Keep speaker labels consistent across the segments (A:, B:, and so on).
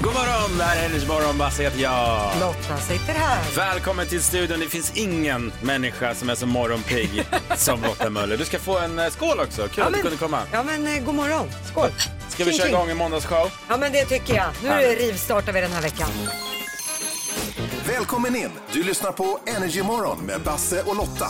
A: God morgon, det här är Hennes morgon. Basse heter jag.
B: Lotta sitter här.
A: Välkommen till studion. Det finns ingen människa som är så morgonpigg som Lotta Möller. Du ska få en eh, skål också. Kul att du kunde komma.
B: Ja men eh, god morgon. Skål.
A: Ska vi
B: Tjing,
A: köra
B: tjing.
A: igång en måndagsshow?
B: Ja men det tycker jag. Nu är det rivstartar vi den här veckan.
C: Välkommen in! Du lyssnar på Energy Morgon med Basse och Lotta.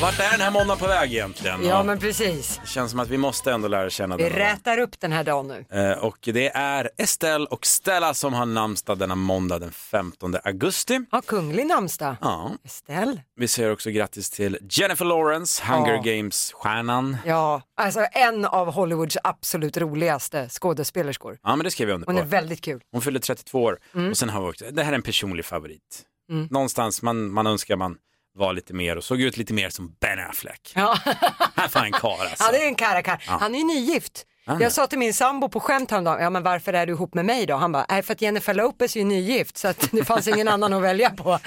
A: Vart är den här måndagen på väg egentligen?
B: Ja
A: Och
B: men precis.
A: Det känns som att vi måste ändå lära känna
B: Vi
A: den.
B: rätar upp den här dagen nu.
A: Eh, Och det är Estelle och Stella som har namnsdag denna måndag den 15 augusti.
B: Ja, kunglig namnsdag.
A: Ja,
B: Estelle.
A: vi säger också grattis till Jennifer Lawrence, Hunger
B: Ja.
A: Games-stjärnan.
B: Ja, alltså en av Hollywoods absolut roligaste skådespelerskor.
A: Ja, men det skrev jag under
B: Hon är
A: på.
B: väldigt kul.
A: Hon fyller 32 år.
B: Mm.
A: Och sen har vi också, det här är en personlig favorit. Någonstans man, man önskar man var lite mer och såg ut lite mer som Ben Affleck.
B: Ja.
A: Här fan en karl alltså.
B: Ja, det är en karakar. Han är ju nygift. Jag sa till min sambo på skämt häromdagen, ja men varför är du ihop med mig då? Han bara, nej för att Jennifer Lopez är ju nygift så att det fanns ingen annan att välja på.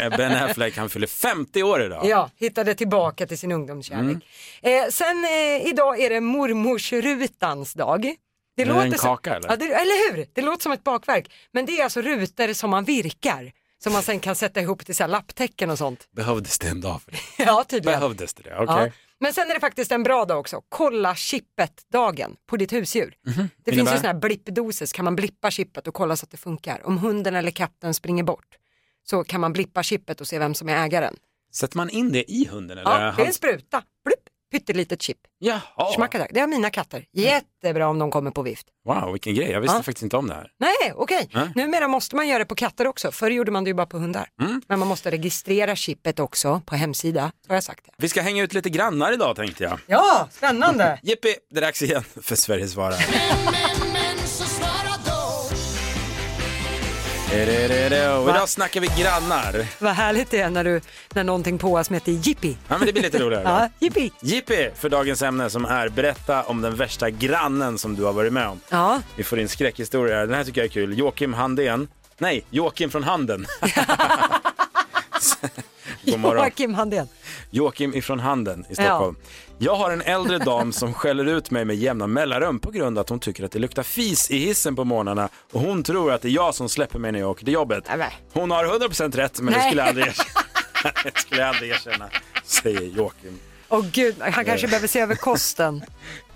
A: Eh, Ben Affleck han fyller 50 år idag.
B: Ja, hittade tillbaka till sin ungdomskärlek.
A: Mm.
B: Eh, sen eh, idag är det mormorsrutans dag. Det
A: Är det en
B: som-
A: kaka, eller?
B: Ja, det, eller hur? Det låter som ett bakverk. Men det är alltså rutor som man virkar. Som man sen kan sätta ihop till så här lapptäcken och sånt.
A: Behövdes det en dag för det?
B: Ja, tydligen.
A: Behövdes det det? Okej.
B: Ja. Men sen är det faktiskt en bra dag också. Kolla chippet-dagen på ditt husdjur. Det finns
A: Mhm. innebär?
B: ju sådana här blippdoser, så kan man blippa chippet och kolla så att det funkar. Om hunden eller katten springer bort så kan man blippa chippet och se vem som är ägaren.
A: Sätter man in det i hunden eller?
B: Ja, det är en spruta. Blipp, pyttelitet chip.
A: Jaha,
B: Schmacka där. Det har mina katter.
A: Mm.
B: Jättebra om de kommer på vift.
A: wow vilken grej. Jag visste
B: Ja.
A: faktiskt inte om det här.
B: Nej, okej.
A: Nej.
B: Numera måste man göra det på katter också. Förr gjorde man det ju bara på hundar.
A: Mm.
B: Men man måste registrera chippet också på hemsida. Har jag sagt det?
A: Vi ska hänga ut lite grannar idag tänkte jag.
B: Ja, spännande.
A: Jippi, det är dags igen för Sveriges svara. Och idag snackar vi grannar.
B: Vad härligt det är när, du, när någonting på som heter Jippi.
A: Ja, men det blir lite roligare.
B: Ja, Jippi.
A: Jippi för dagens ämne som är berätta om den värsta grannen som du har varit med om.
B: Ja,
A: Vi får in skräckhistorier. Den här tycker jag är kul. Joakim Handén. Nej, Joakim från Handen. God morgon.
B: Joakim Handén.
A: Joakim ifrån Handen i Stockholm. Jag har en äldre dam som skäller ut mig med jämna mellanrum på grund av att hon tycker att det luktar fis i hissen på morgnarna och hon tror att det är jag som släpper mig när jag åker till jobbet.
B: Nej, men.
A: Hon har 100% rätt men det
B: Nej.
A: skulle jag aldrig erkänna. det skulle jag aldrig erkänna, säger Joakim.
B: Åh gud, han
A: Eh.
B: kanske behöver se över kosten.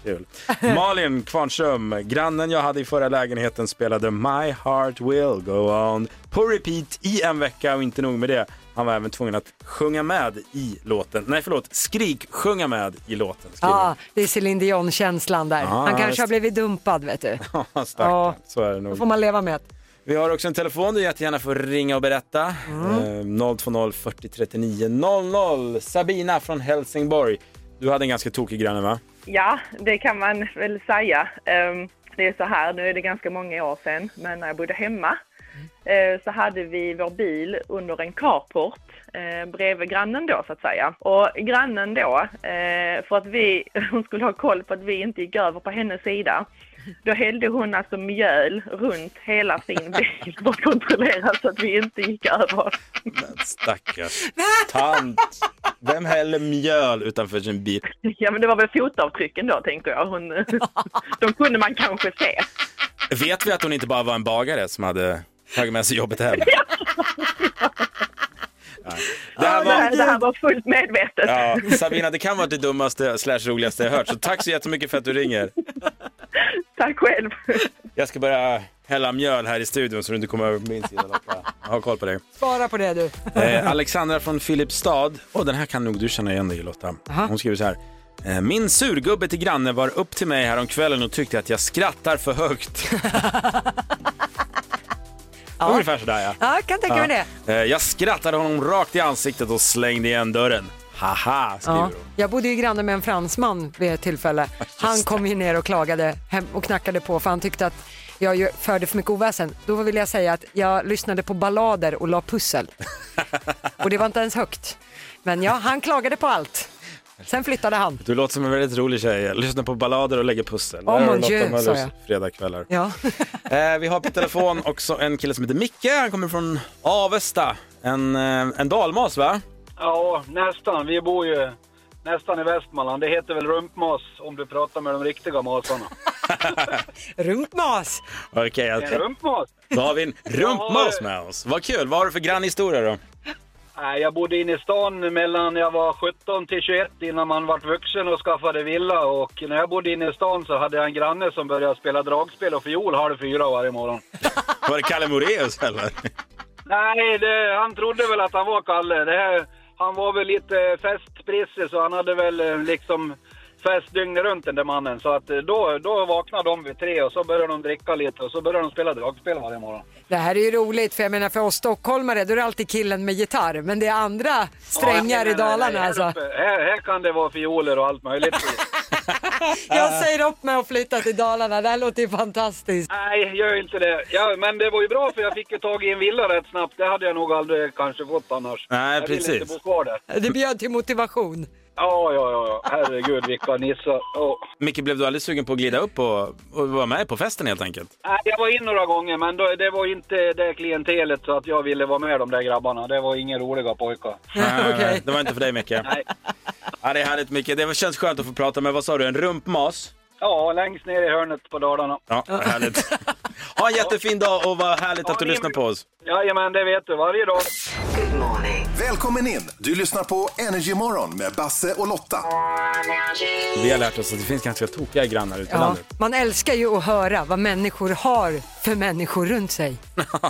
A: Kul. Malin Kvarnström, grannen jag hade i förra lägenheten spelade My Heart Will Go On på repeat i en vecka och inte nog med det. Han var även tvungen att sjunga med i låten. Nej förlåt, skrik sjunga med i låten.
B: Ja,
A: skriver hon.
B: det är Céline Dion-känslan där. han kanske
A: just.
B: har blivit dumpad vet du.
A: Ja, stackarn.
B: Ja.
A: Så är det
B: Då får
A: nog.
B: man leva med det.
A: Vi har också en telefon du jättegärna får ringa och berätta.
B: Mm.
A: Eh, 020 40 39 00. Sabina från Helsingborg. Du hade en ganska tokig granne va?
D: Ja, det kan man väl säga. Ehm, Det är så här, nu är det ganska många år sedan, men när jag bodde hemma eh, så hade vi vår bil under en carport eh, bredvid grannen då så att säga. Och grannen då, eh, för att vi, hon skulle ha koll på att vi inte gick över på hennes sida, då hällde hon alltså mjöl runt hela sin bil för att kontrollera så att vi inte gick över.
A: Stackars tant. Vem häller mjöl utanför sin bil?
D: Ja men det var väl fotavtrycken då tänker jag. Hon, de kunde man kanske se.
A: Vet vi att hon inte bara var en bagare som hade tagit med sig jobbet hem? Nej. Det här
D: det, här, det
A: var...
D: här var fullt medvetet.
A: Ja, Sabina, det kan vara det dummaste slash roligaste jag hört, så tack så jättemycket för att du ringer.
D: Tack själv.
A: Jag ska börja hälla mjöl här i studion så du inte kommer över på min sida, Lotta. Jag har koll på dig.
B: Svara på det du.
A: Eh, Alexandra från Filipstad. Och den här kan nog du känna igen dig i Lotta.
B: Aha.
A: Hon skriver så här. eh, Min surgubbe till grannen var upp till mig häromkvällen och tyckte att jag skrattar för högt. Ungefär sådär ja.
B: Ja, jag kan tänka mig det.
A: Eh, Jag skrattade honom rakt i ansiktet och slängde igen dörren. Haha, skriver
B: Ja.
A: hon.
B: Jag bodde ju granne med en fransman vid ett tillfälle. Han kom ju ner och klagade hem och knackade på för han tyckte att jag ju förde för mycket oväsen. Då vill jag säga att jag lyssnade på ballader och la pussel. Och det var inte ens högt. Men ja, han klagade på allt. Sen flyttade han.
A: Du låter som en väldigt rolig tjej. Lyssna på ballader och lägger pussel.
B: Oh
A: Där har
B: mon
A: Lotta
B: Dieu,
A: Möllers
B: sa jag.
A: Fredagkvällar.
B: Ja.
A: Eh, vi har på telefon också en kille som heter Micke. Han kommer från Avesta. En, eh, en dalmas va?
E: Ja, nästan. Vi bor ju nästan i Västmanland. Det heter väl rumpmas om du pratar med de riktiga masarna.
B: Rumpmas!
A: Okej,
E: En rumpmat?
A: då har vi en rumpmas med oss. Vad kul. Vad har du för grannhistoria då?
E: Nej, jag bodde inne i stan mellan jag var 17 till 21 innan man vart vuxen och skaffade villa. Och när jag bodde inne i stan så hade jag en granne som började spela dragspel och fiol halv fyra varje morgon.
A: Var det Kalle Moraeus eller?
E: Nej, det, han trodde väl att han var Kalle. Det här, han var väl lite festprisse så han hade väl eh, liksom fest dygnet runt den där mannen. Så att eh, då, då vaknade de vid tre och så började de dricka lite och så började de spela dragspel varje morgon.
B: Det här är ju roligt för jag menar för oss stockholmare då är det alltid killen med gitarr men det är andra strängar i
E: Nej, nej, nej,
B: Dalarna
E: här
B: alltså.
E: uppe- Här, här kan det vara fioler och allt möjligt.
B: Jag säger upp mig och flyttar till Dalarna, det här låter ju fantastiskt.
E: Nej, gör inte det. Ja, men det var ju bra för jag fick ju tag i en villa rätt snabbt. Det hade jag nog aldrig kanske fått annars.
A: Nej,
E: jag ville
A: precis.
E: inte bo kvar där.
B: Eh, Det bjöd till motivation.
E: Ja, ja, ja. ja. Herregud vilka nissar. Ja.
A: Micke, blev du alldeles sugen på att glida upp och, och vara med på festen helt enkelt?
E: Nej, jag var in några gånger men då, det var ju inte det klientelet så att jag ville vara med de där grabbarna. Det var inga roliga pojkar.
A: Nej,
B: Okej.
A: Det var inte för dig Micke.
E: Nej.
A: Ja, det är härligt Micke. Det känns skönt att få prata med, vad sa du, en rumpmas?
E: Ja, längst ner i hörnet på Dalarna.
A: Ja, härligt. Ha en jättefin dag och vad härligt att du
E: ni-
A: lyssnar på oss.
E: Jajamän, det vet du. Varje dag.
C: Välkommen in! Du lyssnar på Energy Morgon med Basse och Lotta.
A: Vi har lärt oss att det finns ganska tokiga grannar ute i
B: Ja,
A: landet.
B: man älskar ju att höra vad människor har för människor runt sig.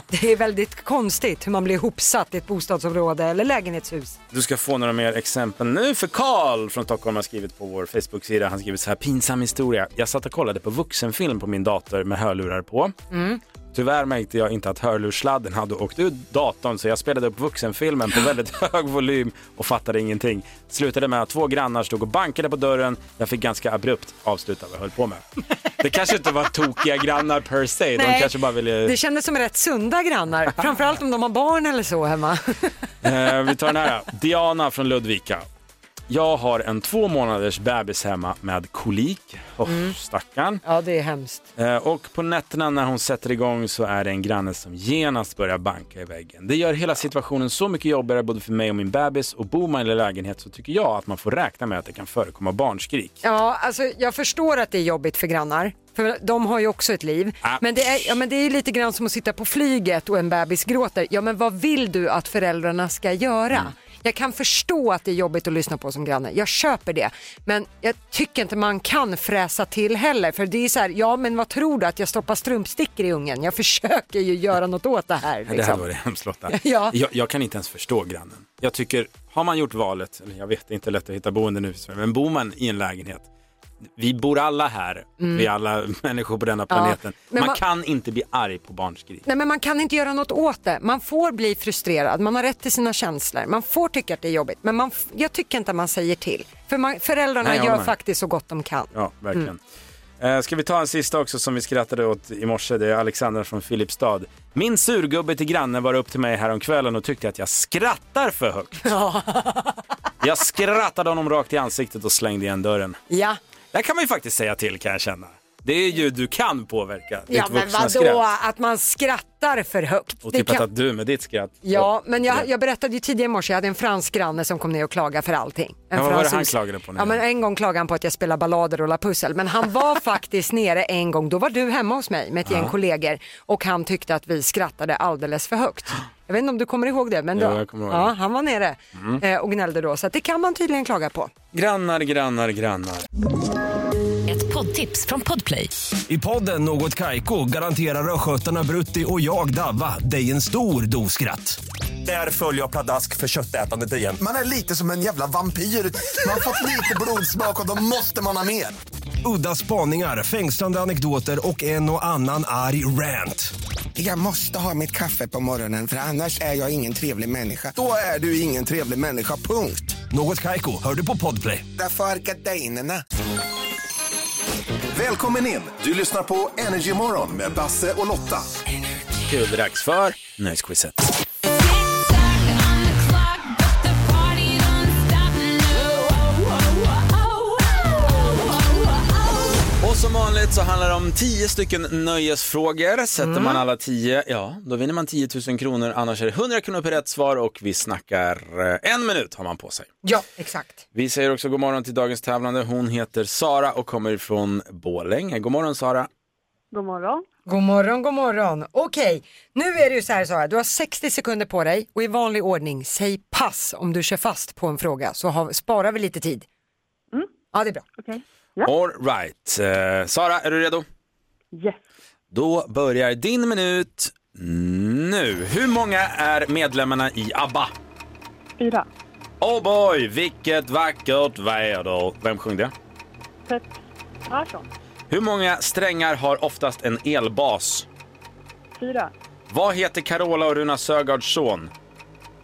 B: Det är väldigt konstigt hur man blir ihopsatt i ett bostadsområde eller lägenhetshus.
A: Du ska få några mer exempel nu för Karl från Stockholm har skrivit på vår Facebook-sida. Han skriver så här, pinsam historia. Jag satt och kollade på vuxenfilm på min dator med hörlurar på. Tyvärr märkte jag inte att hörlurssladden hade åkt ut datorn så jag spelade upp vuxenfilmen på väldigt hög volym och fattade ingenting. Slutade med att två grannar stod och bankade på dörren. Jag fick ganska abrupt avsluta vad jag höll på med. Det kanske inte var tokiga grannar per se. De kanske bara ville...
B: Det kändes som rätt sunda grannar, framförallt om de har barn eller så hemma.
A: Eh, vi tar den här. Diana från Ludvika. Jag har en två månaders bebis hemma med kolik. Oh, Stackarn.
B: Ja, det är hemskt.
A: Eh, och på nätterna när hon sätter igång så är det en granne som genast börjar banka i väggen. Det gör hela situationen så mycket jobbigare både för mig och min bebis. Och bor man i lägenhet så tycker jag att man får räkna med att det kan förekomma barnskrik.
B: Ja, alltså jag förstår att det är jobbigt för grannar. För de har ju också ett liv.
A: Ah.
B: Men, det är, ja, men det är lite grann som att sitta på flyget och en bebis gråter. Ja, men vad vill du att föräldrarna ska göra? Jag kan förstå att det är jobbigt att lyssna på som granne. Jag köper det. Men jag tycker inte man kan fräsa till heller. För det är så här, ja men vad tror du att jag stoppar strumpstickor i ungen? Jag försöker ju göra något åt det här.
A: Det här
B: liksom.
A: var det hemskt Lotta.
B: Ja.
A: Jag, jag kan inte ens förstå grannen. Jag tycker, har man gjort valet, eller jag vet det är inte lätt att hitta boende nu i Sverige, men bor man i en lägenhet, vi bor alla här, vi är alla människor på denna planeten.
B: Mm. men
A: man,
B: man-
A: kan inte bli arg på barnskrik.
B: Nej men man kan inte göra något åt det. Man får bli frustrerad, man har rätt till sina känslor, man får tycka att det är jobbigt. Men man, f- jag tycker inte att man säger till. För man, föräldrarna
A: Nej, jag håller
B: gör
A: med.
B: faktiskt så gott de kan.
A: Ja, verkligen. Eh, Ska vi ta en sista också som vi skrattade åt i morse? Det är Alexandra från Filipstad. Min surgubbe till grannen var upp till mig häromkvällen och tyckte att jag skrattar för högt. Jag skrattade honom rakt i ansiktet och slängde igen dörren.
B: Ja,
A: Där kan man ju faktiskt säga till kan jag känna. Det är ju du kan påverka. Ditt
B: ja men
A: vuxna
B: vadå
A: skratt.
B: att man skrattar för högt.
A: Och
B: Det
A: typ
B: kan-
A: att du med ditt skratt.
B: Ja, men jag, jag berättade ju tidigare i morse, jag hade en fransk granne som kom ner och klagade för allting. En
A: Ja, vad var det
B: fransos.
A: han klagade på nu?
B: Ja, men en gång klagade han på att jag spelar ballader och la pussel, men han var faktiskt nere en gång, då var du hemma hos mig med ett gäng kollegor och han tyckte att vi skrattade alldeles för högt. Jag vet inte om du kommer ihåg det, men då,
A: Jo, jag kommer ihåg
B: ja,
A: det. Mm.
B: han var nere eh, och gnällde då, så att det kan man tydligen klaga på.
A: Grannar, grannar, grannar.
F: Ett poddtips från Podplay.
G: I podden Något Kaiko garanterar östgötarna Brutti och jag, Davva, dig en stor dos skratt. Där följer jag pladask för köttätandet igen.
H: Man är lite som en jävla vampyr. Man har fått lite blodsmak och då måste man ha mer.
G: Udda spaningar, fängslande anekdoter och en och annan arg rant.
H: Jag måste ha mitt kaffe på morgonen för annars är jag ingen trevlig människa. Då är du ingen trevlig människa, punkt.
G: Något Kaiko, hör du på Podplay.
H: Därför är gardinerna.
C: Välkommen in! Du lyssnar på Energy Morgon med Basse och Lotta.
A: Kul, det är dags för Nöjesquizet. Och Som vanligt så handlar det om 10 stycken nöjesfrågor. Sätter
B: Mm.
A: man alla 10, ja, då vinner man 10 000 kronor. Annars är det 100 kronor per rätt svar och vi snackar eh, en minut har man på sig.
B: Ja, exakt.
A: Vi säger också god morgon till dagens tävlande. Hon heter Sara och kommer från Borlänge. God morgon Sara.
D: God morgon.
B: God morgon, god morgon. Okej, nu är det ju så här Sara, du har 60 sekunder på dig och i vanlig ordning, säg pass om du kör fast på en fråga så har, sparar vi lite tid. Ja, det är bra.
A: All right. Eh, Sara, är du redo?
D: Yes.
A: Då börjar din minut nu. Hur många är medlemmarna i ABBA?
D: Fyra.
A: Oh boy, vilket vackert väder. Vem sjöng det?
D: Pet Persson.
A: Hur många strängar har oftast en elbas?
D: Fyra.
A: Vad heter Carola och Runa Sögaards son?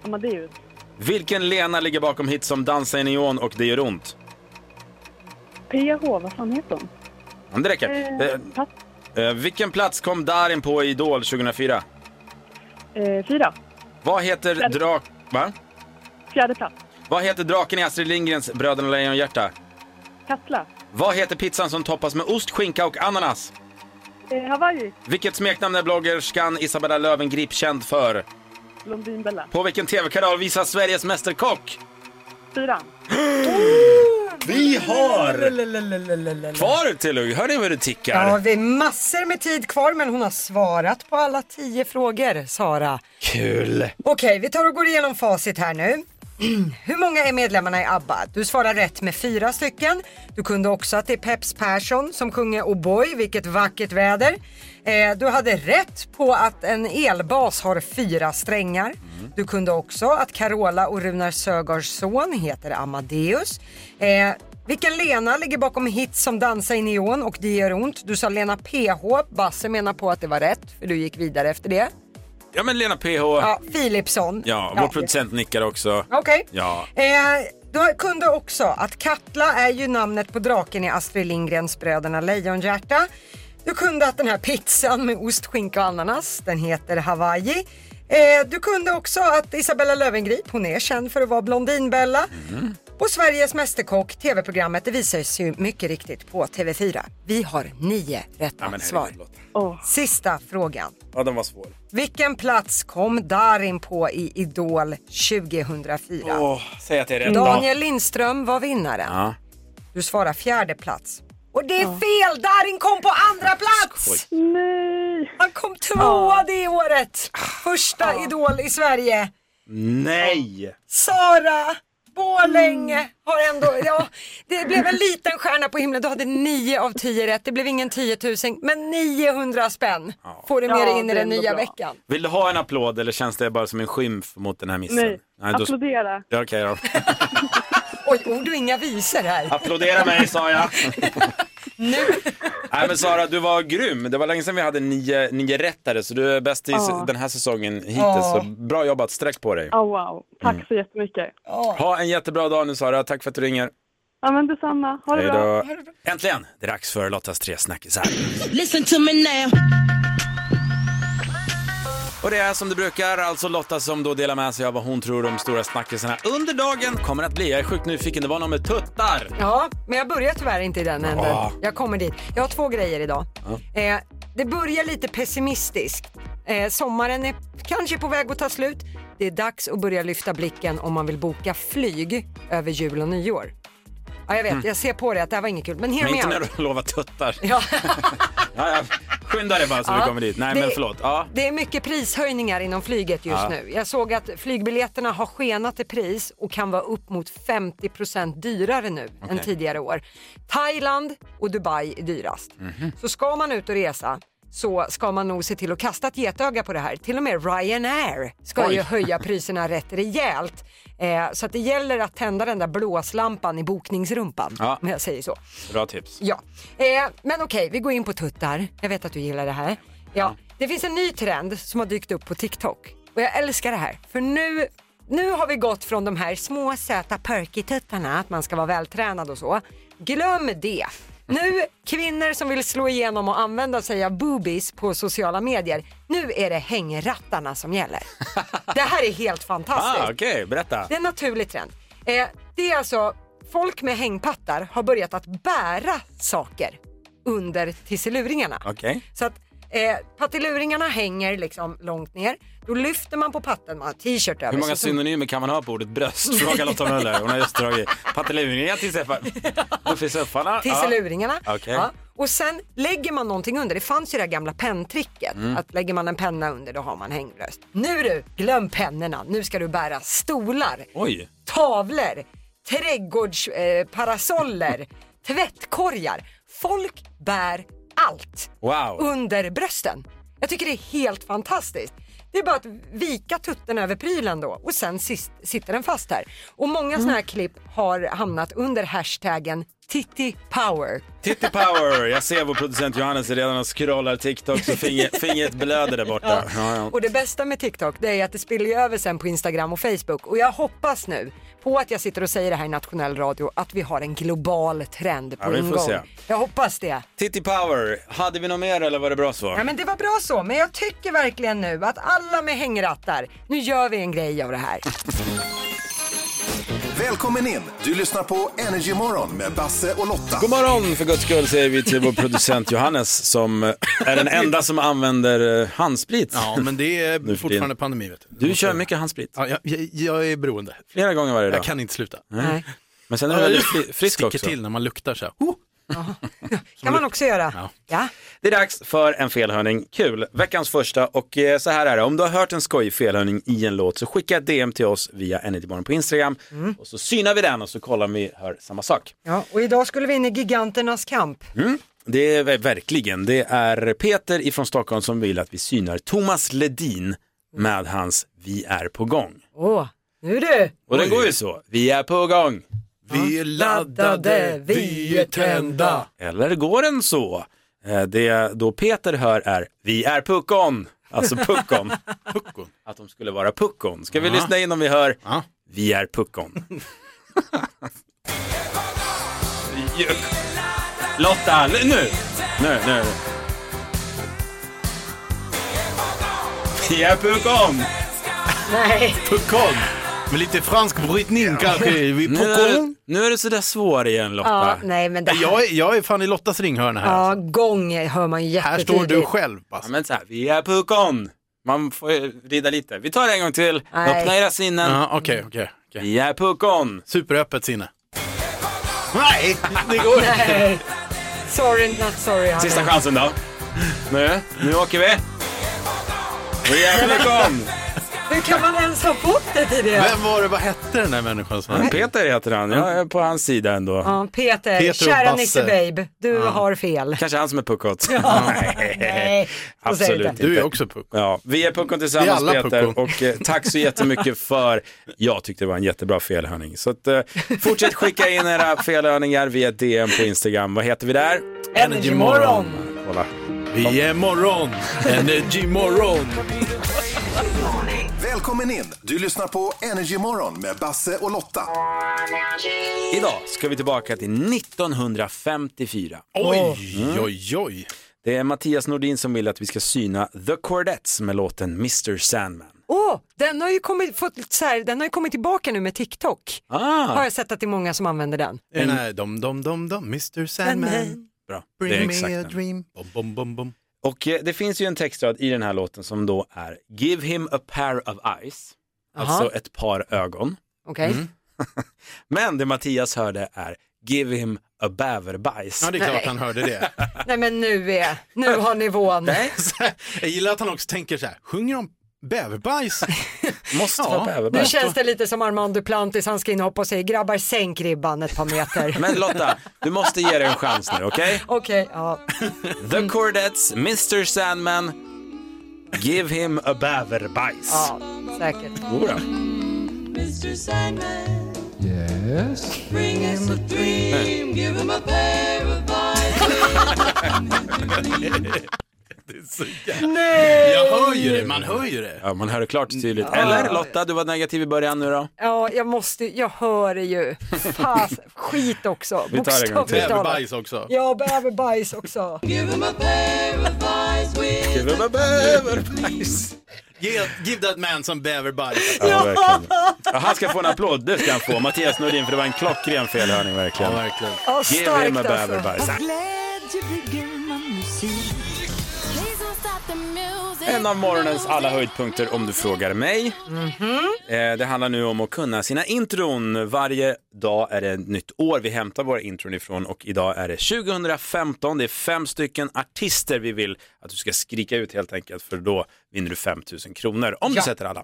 D: Amadeus.
A: Vilken Lena ligger bakom hit som Dansa i neon och Det gör ont?
D: PH, vad fan heter hon?
A: Ja, Det räcker.
D: Eh, pass.
A: Eh, eh, vilken plats kom Darin på i Idol 2004?
D: Eh, fyra.
A: Vad heter, drak... Va?
D: Fjärde plats.
A: Vad heter draken i Astrid Lindgrens Bröderna Lejonhjärta?
D: Katla.
A: Vad heter pizzan som toppas med ost, skinka och ananas?
D: Eh, Hawaii.
A: Vilket smeknamn är bloggerskan Isabella Löwengrip känd för?
D: Blondinbella.
A: På vilken tv-kanal visas Sveriges Mästerkock?
D: Fyran.
A: Vi har kvar till Hör ni hur det tickar?
B: Ja, det är massor med tid kvar men hon har svarat på alla 10 frågor, Sara.
A: Kul!
B: Okej, vi tar och går igenom facit här nu. Hur många är medlemmarna i ABBA? Du svarar rätt med fyra stycken. Du kunde också att det är Peps Persson som sjunger O'boy, vilket vackert väder. Eh, du hade rätt på att en elbas har fyra strängar. Du kunde också att Carola och Runar Sögaards son heter Amadeus. Eh, vilken Lena ligger bakom hits som Dansa i neon och Det gör ont? Du sa Lena PH, Basse menar på att det var rätt för du gick vidare efter det.
A: Ja men Lena PH,
B: Ja, Philipsson.
A: ja, vår producent nickar också.
B: Okej.
A: Ja.
B: Eh, du kunde också att Katla är ju namnet på draken i Astrid Lindgrens Bröderna Lejonhjärta. Du kunde att den här pizzan med ost, skinka och ananas, den heter Hawaii. Eh, du kunde också att Isabella Löwengrip, hon är känd för att vara Blondinbella.
A: Mm.
B: Och Sveriges Mästerkock, tv-programmet, det visas ju mycket riktigt på TV4. Vi har nio rätta
A: Ja, men
B: svar.
A: herregud, Lotta.
B: Sista frågan.
A: ja den var svår.
B: Vilken plats kom Darin på i Idol 2004?
A: Åh, säg att det är rätt då.
B: Daniel Lindström var vinnaren.
A: Ja.
B: Du svarar fjärde plats. Och det är fel! Darin kom på andra plats!
D: Nej.
B: Han kom tvåa det året!
D: Ah.
B: Första Idol i Sverige.
A: Nej!
B: Sara
D: Mm.
B: Borlänge har ändå... Ja, det blev en liten stjärna på himlen. Du hade 9 av 10 rätt. Det blev ingen 10 000, men 900 spänn får du med dig
D: Ja,
B: in
D: det
B: i
D: är
B: den
D: ändå
B: nya
D: bra.
B: veckan.
A: Vill du ha en applåd eller känns det bara som en skymf mot den här missen?
D: Nej.
A: då...
D: Applådera.
A: Ja, Okej då.
B: Oj, ord och inga visor här.
A: Applådera mig sa jag.
B: Nu
A: Nej men Sara, du var grym. Det var länge sedan vi hade nio, nio rättare så du är bäst i s- den här säsongen hittills. Så bra jobbat, sträck på dig.
D: Oh, wow.
A: Mm.
D: Tack så jättemycket.
A: Ha en jättebra dag nu Sara, tack för att du ringer.
D: Ja, men detsamma. Ha det
A: Hej
D: bra.
A: då. Äntligen, det är dags för Lottas tre snackisar.
I: Listen to me now.
A: Och det är som det brukar, alltså Lotta som då delar med sig av vad hon tror de stora snackisarna under dagen kommer att bli. Jag är sjukt nyfiken, det var någon med tuttar.
B: Ja, men jag börjar tyvärr inte i den änden. Jag kommer dit. Jag har två grejer idag. Eh, det börjar lite pessimistiskt. Eh, sommaren är kanske på väg att ta slut. Det är dags att börja lyfta blicken om man vill boka flyg över jul och nyår. Ja, jag vet, jag ser på det att det här var inget kul. Men hear
A: Mm. Men
B: me
A: inte när
B: out.
A: du lovar tuttar.
B: Ja.
A: Ja, ja. Skynda dig bara så
B: Ja,
A: vi kommer dit. Nej men förlåt. Ja.
B: Det är mycket prishöjningar inom flyget just nu. Jag såg att flygbiljetterna har skenat i pris och kan vara upp mot 50% dyrare nu än tidigare år. Thailand och Dubai är dyrast.
A: Mhm.
B: Så ska man ut och resa så ska man nog se till att kasta ett getöga på det här. Till och med Ryanair ska ju höja priserna rätt rejält. Eh, så att det gäller att tända den där blåslampan i bokningsrumpan,
A: Ja.
B: om jag säger så.
A: Bra tips.
B: Ja, eh, men okej, vi går in på tuttar. Jag vet att du gillar det här. Ja, det finns en ny trend som har dykt upp på TikTok och jag älskar det här för nu nu har vi gått från de här små söta perky-tuttarna, att man ska vara vältränad och så. Glöm det! Nu, kvinnor som vill slå igenom och använda sig av boobies på sociala medier, nu är det hängrattarna som gäller. Det här är helt fantastiskt.
A: Ah, Okej, berätta.
B: Det är en naturlig trend. Eh, det är alltså folk med hängpattar har börjat att bära saker. under tisseluringarna.
A: Okej.
B: Så att eh, patteluringarna hänger liksom långt ner. Då lyfter man på patten, man har t-shirt över.
A: Hur många
B: sig, så-
A: synonymer kan man ha på ordet bröst? Fråga Lotta Möller. Hon har just dragit patteluringar till Stefan. Till Stefan.
B: Tisseluringarna.
A: Okej.
B: Ja. Och sen lägger man någonting under. Det fanns ju det här gamla penntricket.
A: Mm.
B: Att lägger man en penna under då har man hänglöst. Nu du, glöm pennorna. Nu ska du bära stolar,
A: Oj.
B: tavlor, trädgårdsparasoller, eh, parasoller, tvättkorgar. Folk bär allt
A: Wow.
B: under brösten. Jag tycker det är helt fantastiskt. Det är bara att vika tutten över prylen då och sen sist, sitter den fast här. Och många såna här klipp har hamnat under hashtaggen Titti Power.
A: Titti Power. Jag ser vår producent Johannes redan och scrollar TikTok så finger, fingret blöder där borta. Ja, ja.
B: Och det bästa med TikTok det är att det spiller ju över sen på Instagram och Facebook och jag hoppas nu på att jag sitter och säger det här i nationell radio att vi har en global trend på
A: Ja, vi får
B: ingång.
A: se.
B: Jag hoppas det.
A: Titti Power. Hade vi något mer eller var det bra svar?
B: Ja men det var bra så, men jag tycker verkligen nu att alla med hängrattar, nu gör vi en grej av det här.
C: Välkommen in! Du lyssnar på Energy Morgon med Basse och Lotta.
A: God morgon för guds skull säger vi till vår producent Johannes som eh, är den enda som använder eh, handsprit.
J: Ja, men det
A: Nu
J: är
A: för
J: fortfarande
A: tiden.
J: pandemi vet du.
A: Du kör mycket handsprit.
J: Ja, jag, jag, jag är beroende.
A: Flera gånger varje dag.
J: Jag kan inte sluta.
B: Nej.
A: Men sen är du väldigt fri- frisk
J: Sticker
A: också.
J: till när man luktar så här. Oh!
B: kan man också göra. Ja.
A: Det är dags för en felhörning. Kul! Veckans första och eh, så här är det. Om du har hört en skojig felhörning i en låt så skicka ett DM till oss via Anytime på Instagram och så synar vi den och så kollar om vi hör samma sak. Mm.
B: Ja, och idag skulle vi in i giganternas kamp.
A: Det är ver- verkligen, det är Peter ifrån Stockholm som vill att vi synar Thomas Ledin med hans Vi är på gång.
B: Åh, nu du!
A: Och den går ju så, Vi är på gång.
J: Vi är laddade, vi är tända.
A: Eller går den så? Eh, Det då Peter hör är Vi är puckon, alltså puckon.
J: Puckon.
A: att de skulle vara puckon. Ska vi lyssna in om vi hör
J: Ja.
A: Vi är puckon. Lotta, nu! Nu, nu, nu. Vi är puckon!
B: Nej,
J: Puckon. Med lite fransk brytning kanske. Vi
A: Nu är,
J: puckon.
A: nu är det sådär svår igen
B: ja,
A: Lotta.
B: nej men det här,
J: Jag är, jag är fan i Lottas ringhörna här.
B: ja,
J: alltså.
B: gång hör man ju
J: Här
B: jättetydligt.
J: står du själv.
A: Ja,
J: Alltså.
A: men så här, vi är puckon! Man får ju rida lite. Vi tar det en gång till.
B: Nej.
A: Öppna era sinnen.
J: Ja, Okej, okej. okej.
A: Vi är puckon!
J: Superöppet sinne. Nej, det går inte.
B: Nej. Sorry, not sorry. Hanna.
A: Sista chansen då. Nu, nu åker vi. Vi är puckon!
B: Hur kan man ens ha fått det tidigare?
J: Vem var det, vad hette den där människan som
A: Men Peter heter han, jag är på hans sida ändå.
B: Ja, Peter,
J: Peter och
B: kära
J: Basse.
B: Nisse Babe, du har fel.
A: Kanske han som är puckot.
B: Nej, så säger
A: Absolut
B: det.
A: inte.
J: Du är också puck.
A: Ja, vi är puckon
J: Vi är
A: tillsammans
J: alla
A: Peter
J: puckon.
A: och eh, tack så jättemycket för, jag tyckte det var en jättebra felhörning. Så att, eh, fortsätt skicka in era felhörningar via DM på Instagram. Vad heter vi där?
J: Energy morgon.
A: Kolla.
J: Vi är morgon. Energy morgon.
C: Välkommen in! Du lyssnar på Energy Morgon med Basse och Lotta.
A: Idag ska vi tillbaka till 1954.
J: Oj, Mm. oj, oj.
A: Det är Mattias Nordin som vill att vi ska syna The Cordettes med låten Mr Sandman.
B: Åh, den har ju kommit, fått, lite så här, den har ju kommit tillbaka nu med TikTok. Har
A: Ah,
B: jag sett att det är många som använder den.
J: Den här, dom, dom, dom, dom, Mr Sandman.
A: bra. Det är
J: Bring me a
A: exakt den.
J: dream. Bom, bom, bom, bom.
A: Och eh, det finns ju en textrad i den här låten som då är Give him a pair of eyes,
B: Aha.
A: alltså ett par ögon.
B: Okej,
J: Mm.
A: Men det Mattias hörde är Give him a bäverbajs.
J: Ja, det är klart han hörde det.
B: nej men nu är, nu har nivån.
J: Jag gillar att han också tänker så här, sjunger de bäverbajs?
A: Måste
J: Ja.
A: vara
B: Nu
A: bäverbajs.
B: känns det lite som Armand Duplantis, han ska inhoppa och säger grabbar sänk ribban ett par meter.
A: Men Lotta, du måste ge dig en chans nu, okej?
B: Okej, ja. Mm.
A: The Cordettes, Mr Sandman, Give him a bäverbajs.
B: ja, säkert.
A: Jodå.
J: Det är så jävla... Nej! Jag hör ju det, man hör ju det.
A: Ja, man hör det klart och tydligt. Eller Lotta, du var negativ i början nu då.
B: Ja, jag måste, jag hör det ju. Fas, skit också.
A: Vi tar det en gång till.
B: Bokstavligt talat.
J: Bäverbajs också.
B: Ja, bäverbajs också.
A: Give him a bäverbajs.
J: Give, give that man some bäverbajs.
A: Ja, verkligen. Ja, han ska få en applåd, det ska han få. Mattias Nordin, för det var en klockren felhörning verkligen.
J: Ja, verkligen.
B: Ja,
A: Give him a
B: starkt alltså.
A: bäverbajs.
K: to the game of music. Please don't stop the music.
A: En av morgonens alla höjdpunkter om du frågar mig. Eh, Det handlar nu om att kunna sina intron. Varje dag är det ett nytt år vi hämtar våra intron ifrån och idag är det 2015. Det är fem stycken artister vi vill att du ska skrika ut helt enkelt för då vinner du 5 000 kronor om du
L: Ja.
A: sätter alla.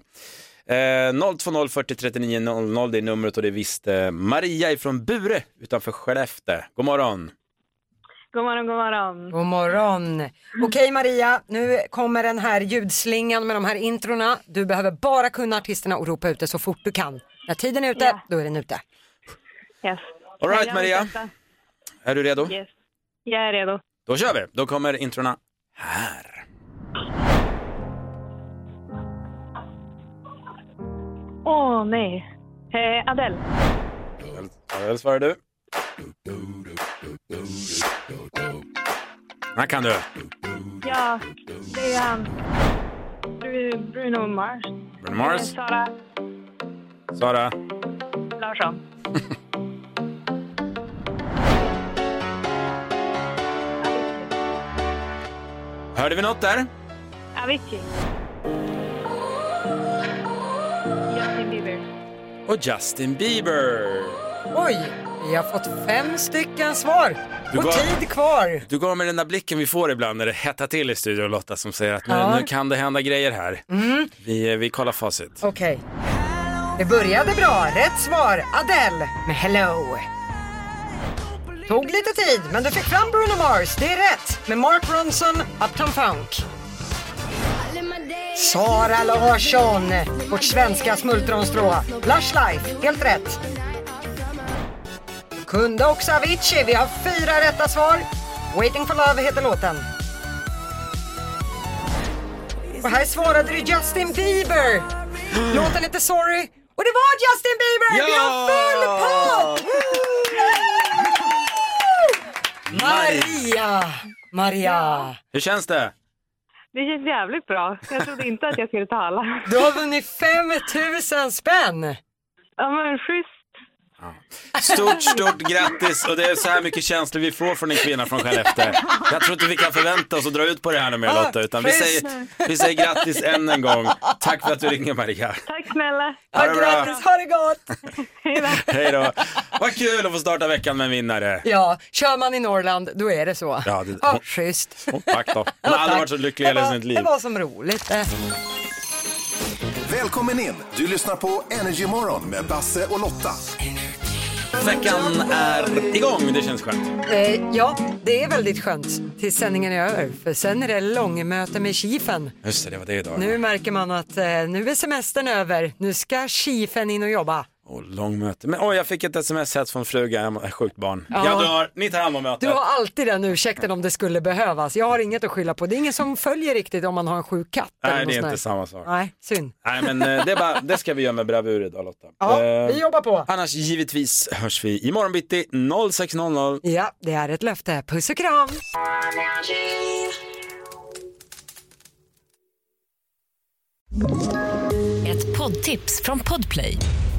A: Eh, 020 40 39 00 det är numret och det visste Maria ifrån Bure utanför Skellefteå. God morgon!
M: God morgon, god morgon.
B: God morgon. Okej Maria, nu kommer den här ljudslingan med de här introna. Du behöver bara kunna artisterna och ropa ut det så fort du kan. När tiden är ute,
M: Ja.
B: då är den ute.
M: Yes.
A: All right,
M: Jag
A: Maria.
M: vill testa.
A: Är du redo?
M: Yes. Jag är redo.
A: Då kör vi! Då kommer introna
M: Åh, nej. Eh, Adele.
A: Eller svarar du? Här kan du.
M: Ja, det är han. Bru- Bruno Mars.
A: Bruno Mars.
M: Eh, Sara
A: Sara.
M: Larsson.
A: Hörde vi något där?
M: Avicii. Justin Bieber.
A: Och Justin Bieber.
B: Oj, vi har fått fem stycken svar.
A: Du
B: och
A: gav-
B: tid kvar.
A: Du går med den där blicken vi får ibland när det hettar till i studion Lotta som säger att nu,
B: Ja. Mm.
A: nu kan det hända grejer här. Vi, vi kollar facit.
B: Okej. Det började bra. Rätt svar, Adele med Hello. Tog lite tid, men du fick fram Bruno Mars. Det är rätt. Med Mark Ronson, Uptown Funk. Sara Larsson, vårt svenska smultronstrå. Lush Life, helt rätt. Kunde också Avicii. Vi har fyra rätta svar. Waiting for Love heter låten. Och här svarade du Justin Bieber. Låten heter Sorry. Och det var Justin Bieber! Vi har full pott! Maria! Maria!
A: Hur känns det?
M: Det känns jävligt bra. Jag trodde inte att jag skulle ta alla.
B: Du har vunnit 5000 spänn!
M: Ja, men schysst.
A: Stort, stort grattis och det är så här mycket känslor vi får från en kvinna från Skellefteå. Jag tror inte vi kan förvänta oss att dra ut på det här nu mer
B: Ah,
A: Lotta utan vi
M: precis.
A: säger, vi säger grattis än en gång. Tack för att du ringer Maria.
M: Tack snälla.
A: Ha det bra. grattis.
B: ha det gott!
A: Hej då. Vad kul att få starta veckan med en vinnare.
B: Ja, kör man i Norrland då är det så.
A: Ja, det-
B: ah,
A: hon-
B: schysst.
A: Hon, tack då. Hon har aldrig varit så lycklig i
B: Det
A: hela
B: var,
A: sitt liv.
B: det var som roligt. Eh, det.
C: Välkommen in! Du lyssnar på Energy Morgon med Basse och Lotta.
A: Veckan är igång, det känns skönt.
B: Eh, ja, det är väldigt skönt tills sändningen är över. För sen är det långmöte med chiefen.
A: Just det, det var det idag.
B: Nu märker man att eh, nu är semestern över. Nu ska chiefen in och jobba.
A: Och lång möte. Men oj, jag fick ett sms här från frugan, jag är sjukt barn.
B: Ja.
A: Jag drar, ni tar hand om mötet.
B: Du har alltid den ursäkten om det skulle behövas. Jag har inget att skylla på. Det är ingen som följer riktigt om man har en sjuk katt. eller
A: Nej,
B: något
A: det är
B: sånt
A: inte
B: där.
A: samma sak.
B: Nej, synd.
A: Nej, men eh, det, är bara, det ska vi göra med bravur idag Lotta.
B: Ja,
A: Eh,
B: vi jobbar på.
A: Annars givetvis hörs vi imorgon bitti 06.00.
B: Ja, det är ett löfte. Puss och kram!
F: Ett poddtips från Podplay.